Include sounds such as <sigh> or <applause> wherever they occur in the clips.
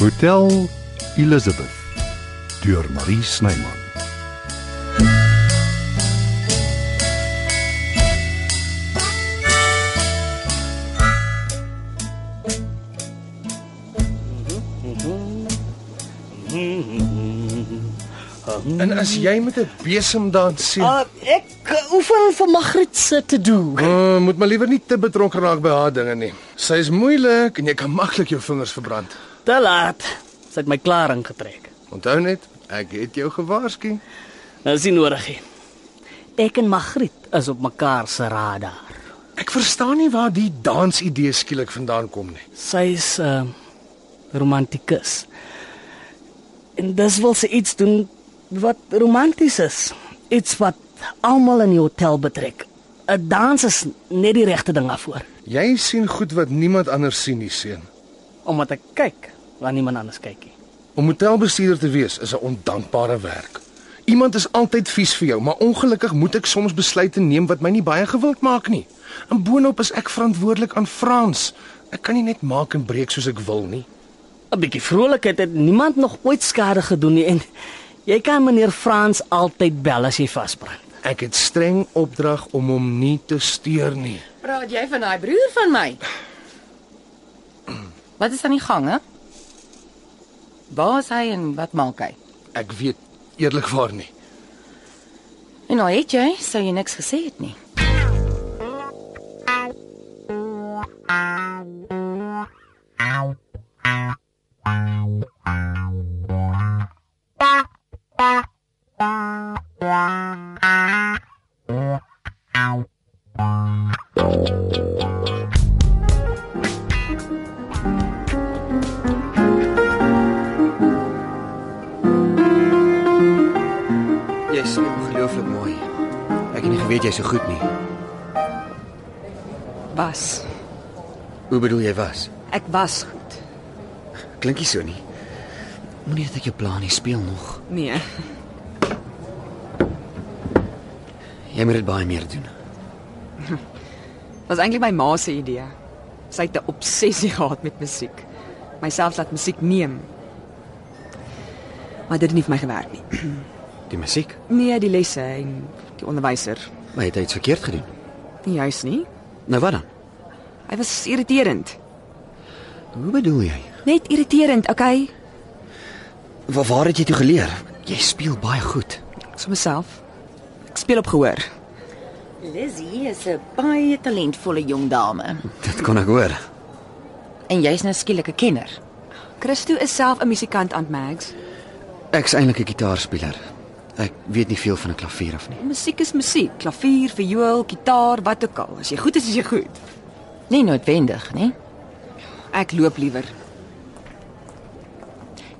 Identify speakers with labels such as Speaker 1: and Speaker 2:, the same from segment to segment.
Speaker 1: Vertel Elizabeth deur Marie Snyman.
Speaker 2: En as jy met 'n besem dans sien,
Speaker 3: Uh, ek oefen vir Magriet se te doen.
Speaker 2: uh, moet maar liewer nie te betrokke raak by haar dinge nie. Sy is moeilik en jy kan maklik jou vingers verbrand.
Speaker 3: Te laat. Sy het my klaar ingetrek.
Speaker 2: Onthou net, ek het jou gewaarsku.
Speaker 3: Nou sien nodig nie. Ek en Magriet is op mekaar se radar.
Speaker 2: Ek verstaan nie waar die dansidee skielik vandaan kom nie.
Speaker 3: Sy's 'n uh, romantikus. En dis wil sy iets doen wat romanties is. Iets wat almal in die hotel betrek. 'n Dans is net die regte ding daarvoor.
Speaker 2: Jy sien goed wat niemand anders sien nie, seun.
Speaker 3: Omdat ek kyk, waar niemand anders kyk nie.
Speaker 2: Om hotelbestuurder te wees is 'n ondankbare werk. Iemand is altyd vies vir jou, maar ongelukkig moet ek soms besluite neem wat my nie baie gewild maak nie. En boonop is ek verantwoordelik aan Frans. Ek kan nie net maak en breek soos ek wil nie.
Speaker 3: 'n bietjie vrolikheid het niemand nog ooit skade gedoen nie en jy kan meneer Frans altyd bel as jy vasbrand.
Speaker 2: Ek het streng opdrag om hom nie te steur nie.
Speaker 4: Praat jy van daai broer van my? Wat is aan die gang, hè? Waar is hy en wat maak hy?
Speaker 2: Ek weet eerlikwaar nie.
Speaker 4: En nou het jy, sou jy niks gesê het nie.
Speaker 5: Jy's ongelooflik mooi. Ek het nie geweet jy's so goed nie.
Speaker 6: Was.
Speaker 5: Hoe bedoel jy was?
Speaker 6: Ek was goed.
Speaker 5: Klink nie so nie. Moenie dat ek jou plan nie speel nog.
Speaker 6: Nee.
Speaker 5: Jy moet dit baie meer doen.
Speaker 6: Was eintlik my ma se idee. Sy het 'n obsessie <laughs> gehad met musiek. Myself laat musiek neem. Maar dit het nie vir my gewerk nie.
Speaker 5: Die musiek,
Speaker 6: Nee, die lesse en die onderwyser.
Speaker 5: maar jy het iets verkeerd gedoen.
Speaker 6: Nie juis nie.
Speaker 5: Nou wat dan?
Speaker 6: Hy was irriterend.
Speaker 5: Hoe bedoel jy?
Speaker 6: Net irriterend, okay?
Speaker 5: Waar waar het jy toe geleer? Jy speel baie goed.
Speaker 6: So myself. Ek speel op gehoor.
Speaker 4: Lizzie is 'n baie talentvolle jong dame
Speaker 5: Dit kon ek hoor.
Speaker 4: en jy's nou skielik 'n kenner.
Speaker 6: Christo is self 'n musikant aan Mags.
Speaker 5: Ek's eintlik 'n gitaarspeler. Ek weet nie veel van 'n klavier af nie.
Speaker 6: Musiek is musiek, klavier, viool, gitaar, wat ook al. As jy goed is, is jy goed.
Speaker 4: Nie noodwendig, nê?
Speaker 6: Ek loop liewer.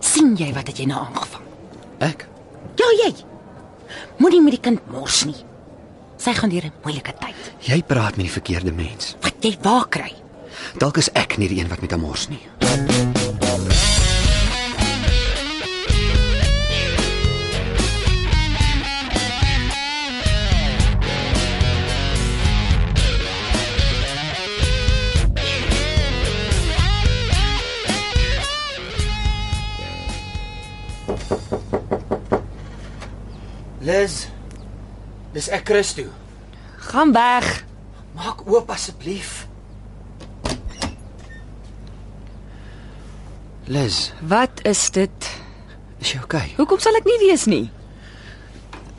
Speaker 4: sien jy wat het jy nou aangevang?
Speaker 5: Ek?
Speaker 4: Ja, jy. Moenie met die kind mors nie. Sy gaan deur 'n moeilike tyd.
Speaker 5: Jy praat met die verkeerde mens.
Speaker 4: Wat jy waar kry?
Speaker 5: Dalk is ek nie die een wat met hom mors nie.
Speaker 7: Liz. Dis ek Christo.
Speaker 6: Gaan weg.
Speaker 7: Maak oop asseblief.
Speaker 5: Liz,
Speaker 6: Wat is dit?
Speaker 5: is jy okay?
Speaker 6: Hoekom sal ek nie weet nie?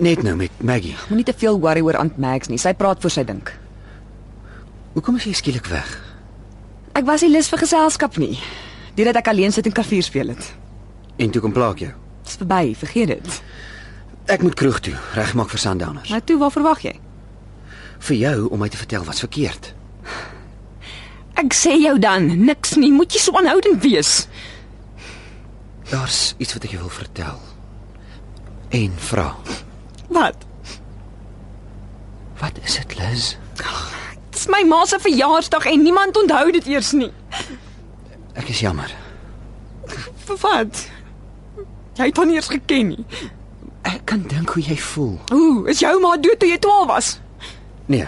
Speaker 5: Net nou met Maggie.
Speaker 6: Moenie te veel worry oor Aunt Mags nie. Sy praat voor sy dink.
Speaker 5: Hoekom is jy skielik weg?
Speaker 6: Ek was nie lus vir geselskap nie. Deurdat ek alleen sit en klavier speel het.
Speaker 5: En toe kom plaak jou.
Speaker 6: Dis verby, vergeet dit.
Speaker 5: Ek moet kroeg toe, regmaak vir Sandowners.
Speaker 6: Nou toe, wat verwag jy?
Speaker 5: Vir jou om my te vertel wat's verkeerd.
Speaker 6: Ek sê jou dan, niks nie. Moet jy so aanhoudend wees.
Speaker 5: Daar's iets wat ek jou wil vertel. En vra.
Speaker 6: Wat?
Speaker 5: Wat is dit, Liz?
Speaker 6: Dis my ma se verjaarsdag en niemand onthou dit eers nie.
Speaker 5: Ek is jammer.
Speaker 6: Vir wat? Jy het hom nie eers geken nie.
Speaker 5: Ek kan dink hoe jy voel.
Speaker 6: Ooh, is jou ma dood toe jy 12 was?
Speaker 5: Nee.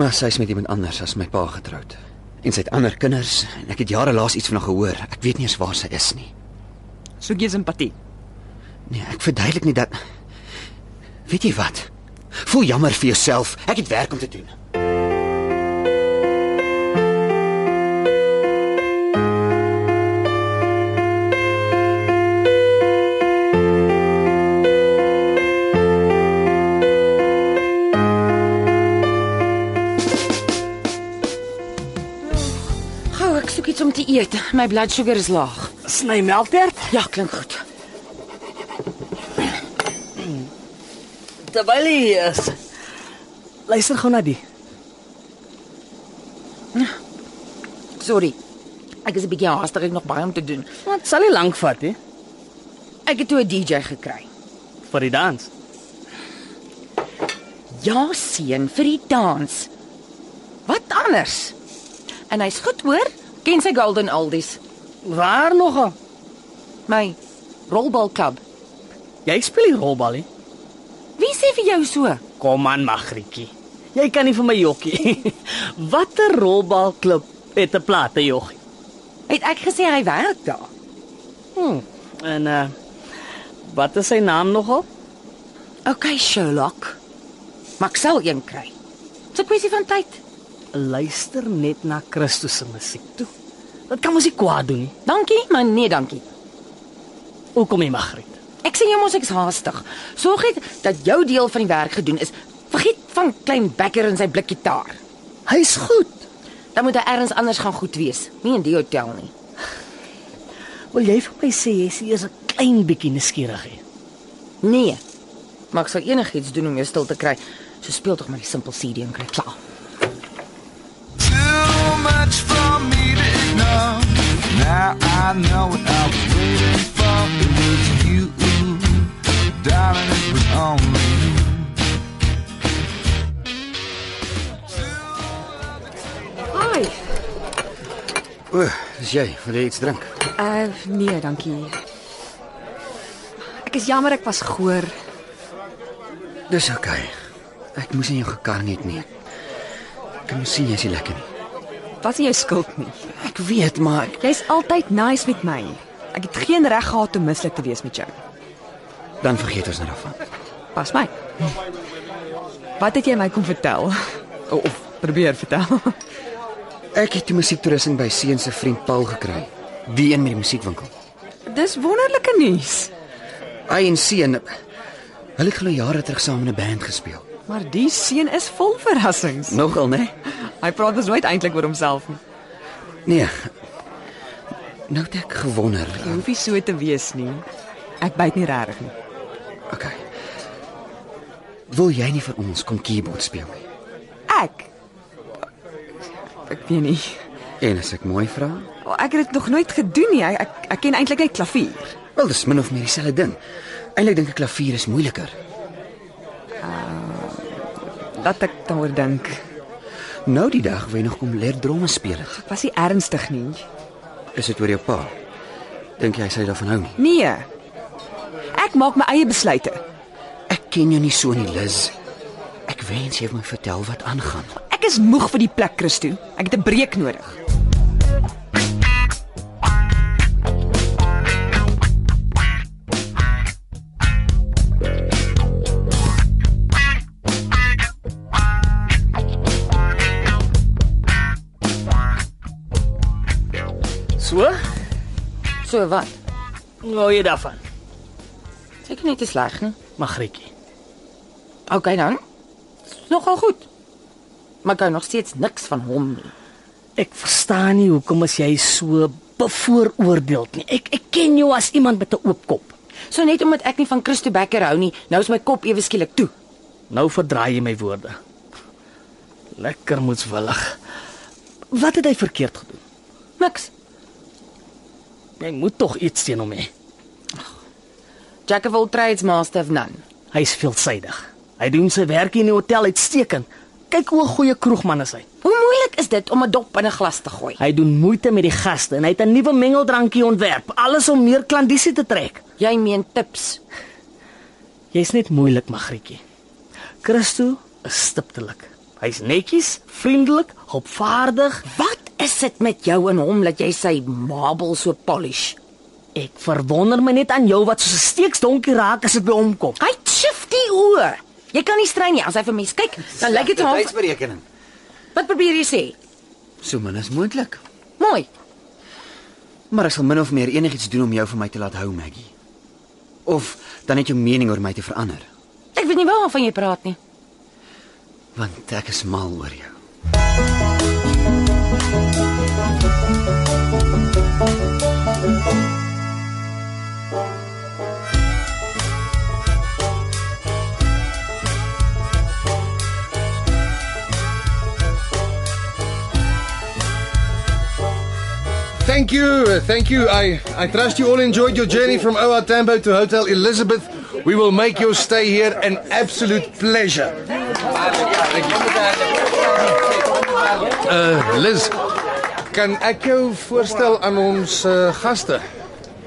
Speaker 5: Maar sy's met iemand anders as my pa getroud. en sy het ander kinders en ek het jare laas iets van haar gehoor. Ek weet nie eens waar sy is nie.
Speaker 6: Soek jy simpatie?
Speaker 5: Nee, ek verduidelik nie dat Weet jy wat? Voel jammer vir jouself. Ek het werk om te doen.
Speaker 4: Gou, ek soek iets om te eet. My blood sugar is laag.
Speaker 3: Sny melktert
Speaker 4: Ja, klink goed.
Speaker 3: terwyl hy hier is. Luister gou na die.
Speaker 4: Sorry. Ek is 'n bietjie haastig, ek het nog baie om te doen.
Speaker 3: Wat sal nie lank vat hè
Speaker 4: Ek het toe 'n DJ gekry.
Speaker 3: vir die dans.
Speaker 4: Ja, seun, vir die dans. Wat anders? En hy's goed hoor. Ken sy Golden Aldies,
Speaker 3: Waar nogal?
Speaker 4: my rolbalklub.
Speaker 3: Jy speel nie rolbal nie.
Speaker 4: Wie sê vir jou so?
Speaker 3: Kom aan Magrietjie. Jy kan nie vir my jokkie. <laughs> Watter rolbalklub het 'n plate joggie?
Speaker 4: Het ek gesê hy werk daar?
Speaker 3: Hmm. En uh wat is sy naam nogal?
Speaker 4: OK, Sherlock. Maar ek sal een kry. Dit's 'n kwessie van tyd.
Speaker 3: Luister net na Christus se musiek toe. Dit kan mos nie kwaad doen nie.
Speaker 4: Dankie, maar nee, dankie.
Speaker 3: Hoekom nie Magriet?
Speaker 4: Ek sien jou mos ek's haastig. Sorg net dat jou deel van die werk gedoen is. Vergiet van klein Becker en sy blikgitaar.
Speaker 3: Hy's goed.
Speaker 4: Dan moet hy ergens anders gaan goed wees. Nie in die hotel nie.
Speaker 3: Wil jy vir my sê jy's eers 'n klein bietjie nuuskierig hè?
Speaker 4: Nee. Maar ek sal enigiets doen om jou stil te kry. So speel tog maar die simpel CD en kry klaar.
Speaker 8: Too much for me to ignore. Now I know what I was waiting for. It was you, darling. It was only you.
Speaker 6: Ai,
Speaker 5: O, dis jy. Wil jy iets drink?
Speaker 6: uh nee, dankie. Ek is jammer ek was goor.
Speaker 5: Dis oukei. Okay. Ek moes nie jou gekarring het nie. Ek kan sien jy's nie lekker nie.
Speaker 6: Was nie jou skuld nie.
Speaker 5: Ek weet, maar ek...
Speaker 6: Jy's altyd nice met my. Ek het geen reg gehad om mislik te wees met jou.
Speaker 5: dan vergeet ons nou daarvan.
Speaker 6: Pas my. Wat het jy my kom vertel? O, Of probeer vertel. <laughs>
Speaker 5: Ek het die musiektoerusting by seun se vriend Paul gekry. Die een met die musiekwinkel.
Speaker 6: Dis wonderlike nuus.
Speaker 5: Hy en seun hulle het glo jare terug saam in 'n band gespeel.
Speaker 6: Maar die seun is vol verrassings.
Speaker 5: Nogal, né?
Speaker 6: Hy praat dus nooit eintlik oor homself nie.
Speaker 5: Nee. Nou het ek gewonder.
Speaker 6: Jy hoef nie so te wees nie. Ek byt nie regtig nie.
Speaker 5: Okay. Wil jy nie vir ons kom keyboard speel nie?
Speaker 6: Ek ek weet nie.
Speaker 5: En as ek mooi vra,
Speaker 6: O, Oh, Ek het dit nog nooit gedoen nie. Ek ek, ek ken eintlik net klavier.
Speaker 5: wel dis min of meer dieselfde ding. Eilik dink ek klavier is moeiliker.
Speaker 6: Laat ek daaroor dink.
Speaker 5: Nou die dag wil jy nog kom leer dromme speel het.
Speaker 6: Ek was nie ernstig nie.
Speaker 5: Is dit oor jou pa? Dink jy hy sal daarvan hou nie?
Speaker 6: Nee. Ek maak my eie besluite.
Speaker 5: Ek ken jou nie so nie, Liz. Ek wens jy het my vertel wat aangaan.
Speaker 6: Ek is moeg vir die plek, Christo. Ek het 'n breek nodig.
Speaker 3: So?
Speaker 4: So wat?
Speaker 3: Hoe jy daarvan?
Speaker 4: Seker net te sleg nie.
Speaker 3: Magrietjie.
Speaker 4: OK dan. Is nogal goed. Maar ek hou nog steeds niks van hom nie.
Speaker 3: Ek verstaan nie hoekom as jy so bevooroordeeld nie. Ek ek ken jou as iemand met 'n oop kop.
Speaker 4: So net omdat ek nie van Christo Becker hou nie, nou is my kop ewe skielik toe.
Speaker 3: Nou verdraai jy my woorde. Lekker moetswillig. Wat het hy verkeerd gedoen?
Speaker 4: Niks.
Speaker 3: Jy moet tog iets teen hom hê.
Speaker 4: Jack of all trades, master of none.
Speaker 3: Hy's veelsidig. Hy doen sy werk hier in die hotel uitstekend. Kyk hoe 'n goeie kroegman is hy.
Speaker 4: Hoe moeilik is dit om 'n dop in 'n glas te gooi?
Speaker 3: Hy doen moeite met die gaste en hy het 'n nuwe mengeldrankie ontwerp, alles om meer klandisie te trek.
Speaker 4: Jy meen tips.
Speaker 3: Jy's net moeilik, Magrietjie. Christo is stiptelik. Hy's netjies, vriendelik, hulpvaardig.
Speaker 4: Wat is dit met jou en hom dat jy sy marble so polish?
Speaker 3: Ek verwonder my net aan jou wat so 'n steeksdonkie raak as dit by hom kom.
Speaker 4: Hy shift die oë. Jy kan nie strei nie as hy vir mense kyk, dan lyk dit
Speaker 5: Slegte
Speaker 4: half
Speaker 5: tydsberekening.
Speaker 4: Wat probeer jy sê?
Speaker 5: So min as moontlik.
Speaker 4: Mooi.
Speaker 5: Maar ek sal min of meer enigiets doen om jou van my te laat hou, Maggie. Of dan net jou mening oor my te verander,
Speaker 4: Ek weet nie waarvan jy praat nie.
Speaker 5: want ek is mal oor jou.
Speaker 2: Thank you. uh, Thank you. I I trust you all enjoyed your journey from Oa Tambo to Hotel Elizabeth. We will make your stay here an absolute pleasure. Uh Liz, kan ek jou voorstel aan ons uh, gaste?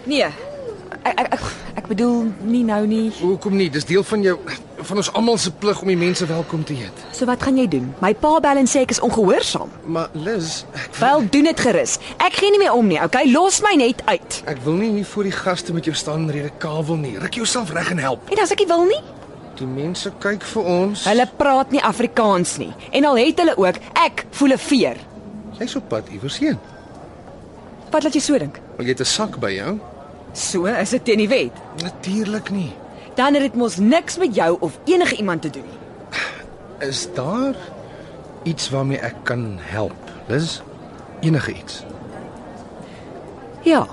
Speaker 6: Nee. Ek ek, ek ek bedoel nie nou nie.
Speaker 2: Hoekom nie? Dis deel van jou van ons almal se plig om die mense welkom te heet.
Speaker 6: So wat gaan jy doen? My pa bel en sê ek is ongehoorsaam.
Speaker 2: Maar Liz, ek
Speaker 6: Wel, doen dit gerus. Ek gee nie meer om nie, okay? Los my net uit.
Speaker 2: ek wil nie hier voor die gaste met jou staan rede kawel nie. Ruk jouself reg en help.
Speaker 6: En as ek nie wil nie,
Speaker 2: Die mense kyk vir ons.
Speaker 6: hulle praat nie Afrikaans nie. En al het hulle ook, ek voel 'n veer.
Speaker 2: Jy's op pad iewers heen.
Speaker 6: Wat laat jy so dink?
Speaker 2: Maar jy het 'n sak by jou?
Speaker 6: So is dit teen die wet.
Speaker 2: Natuurlik nie.
Speaker 6: Dan het dit mos niks met jou of enige iemand te doen nie.
Speaker 2: Is daar iets waarmee ek kan help? Dis enige iets.
Speaker 6: Ja.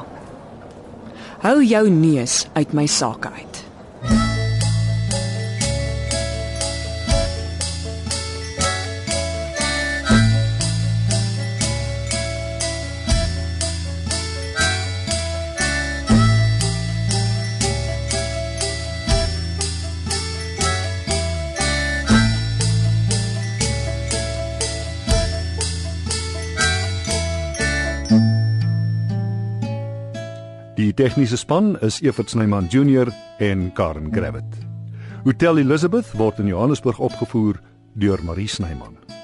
Speaker 6: Hou jou neus uit my sake uit.
Speaker 1: Die tegniese span is Evert Snyman Junior en Karen Gravett. Hotel Elizabeth word in Johannesburg opgevoer deur Marie Snyman.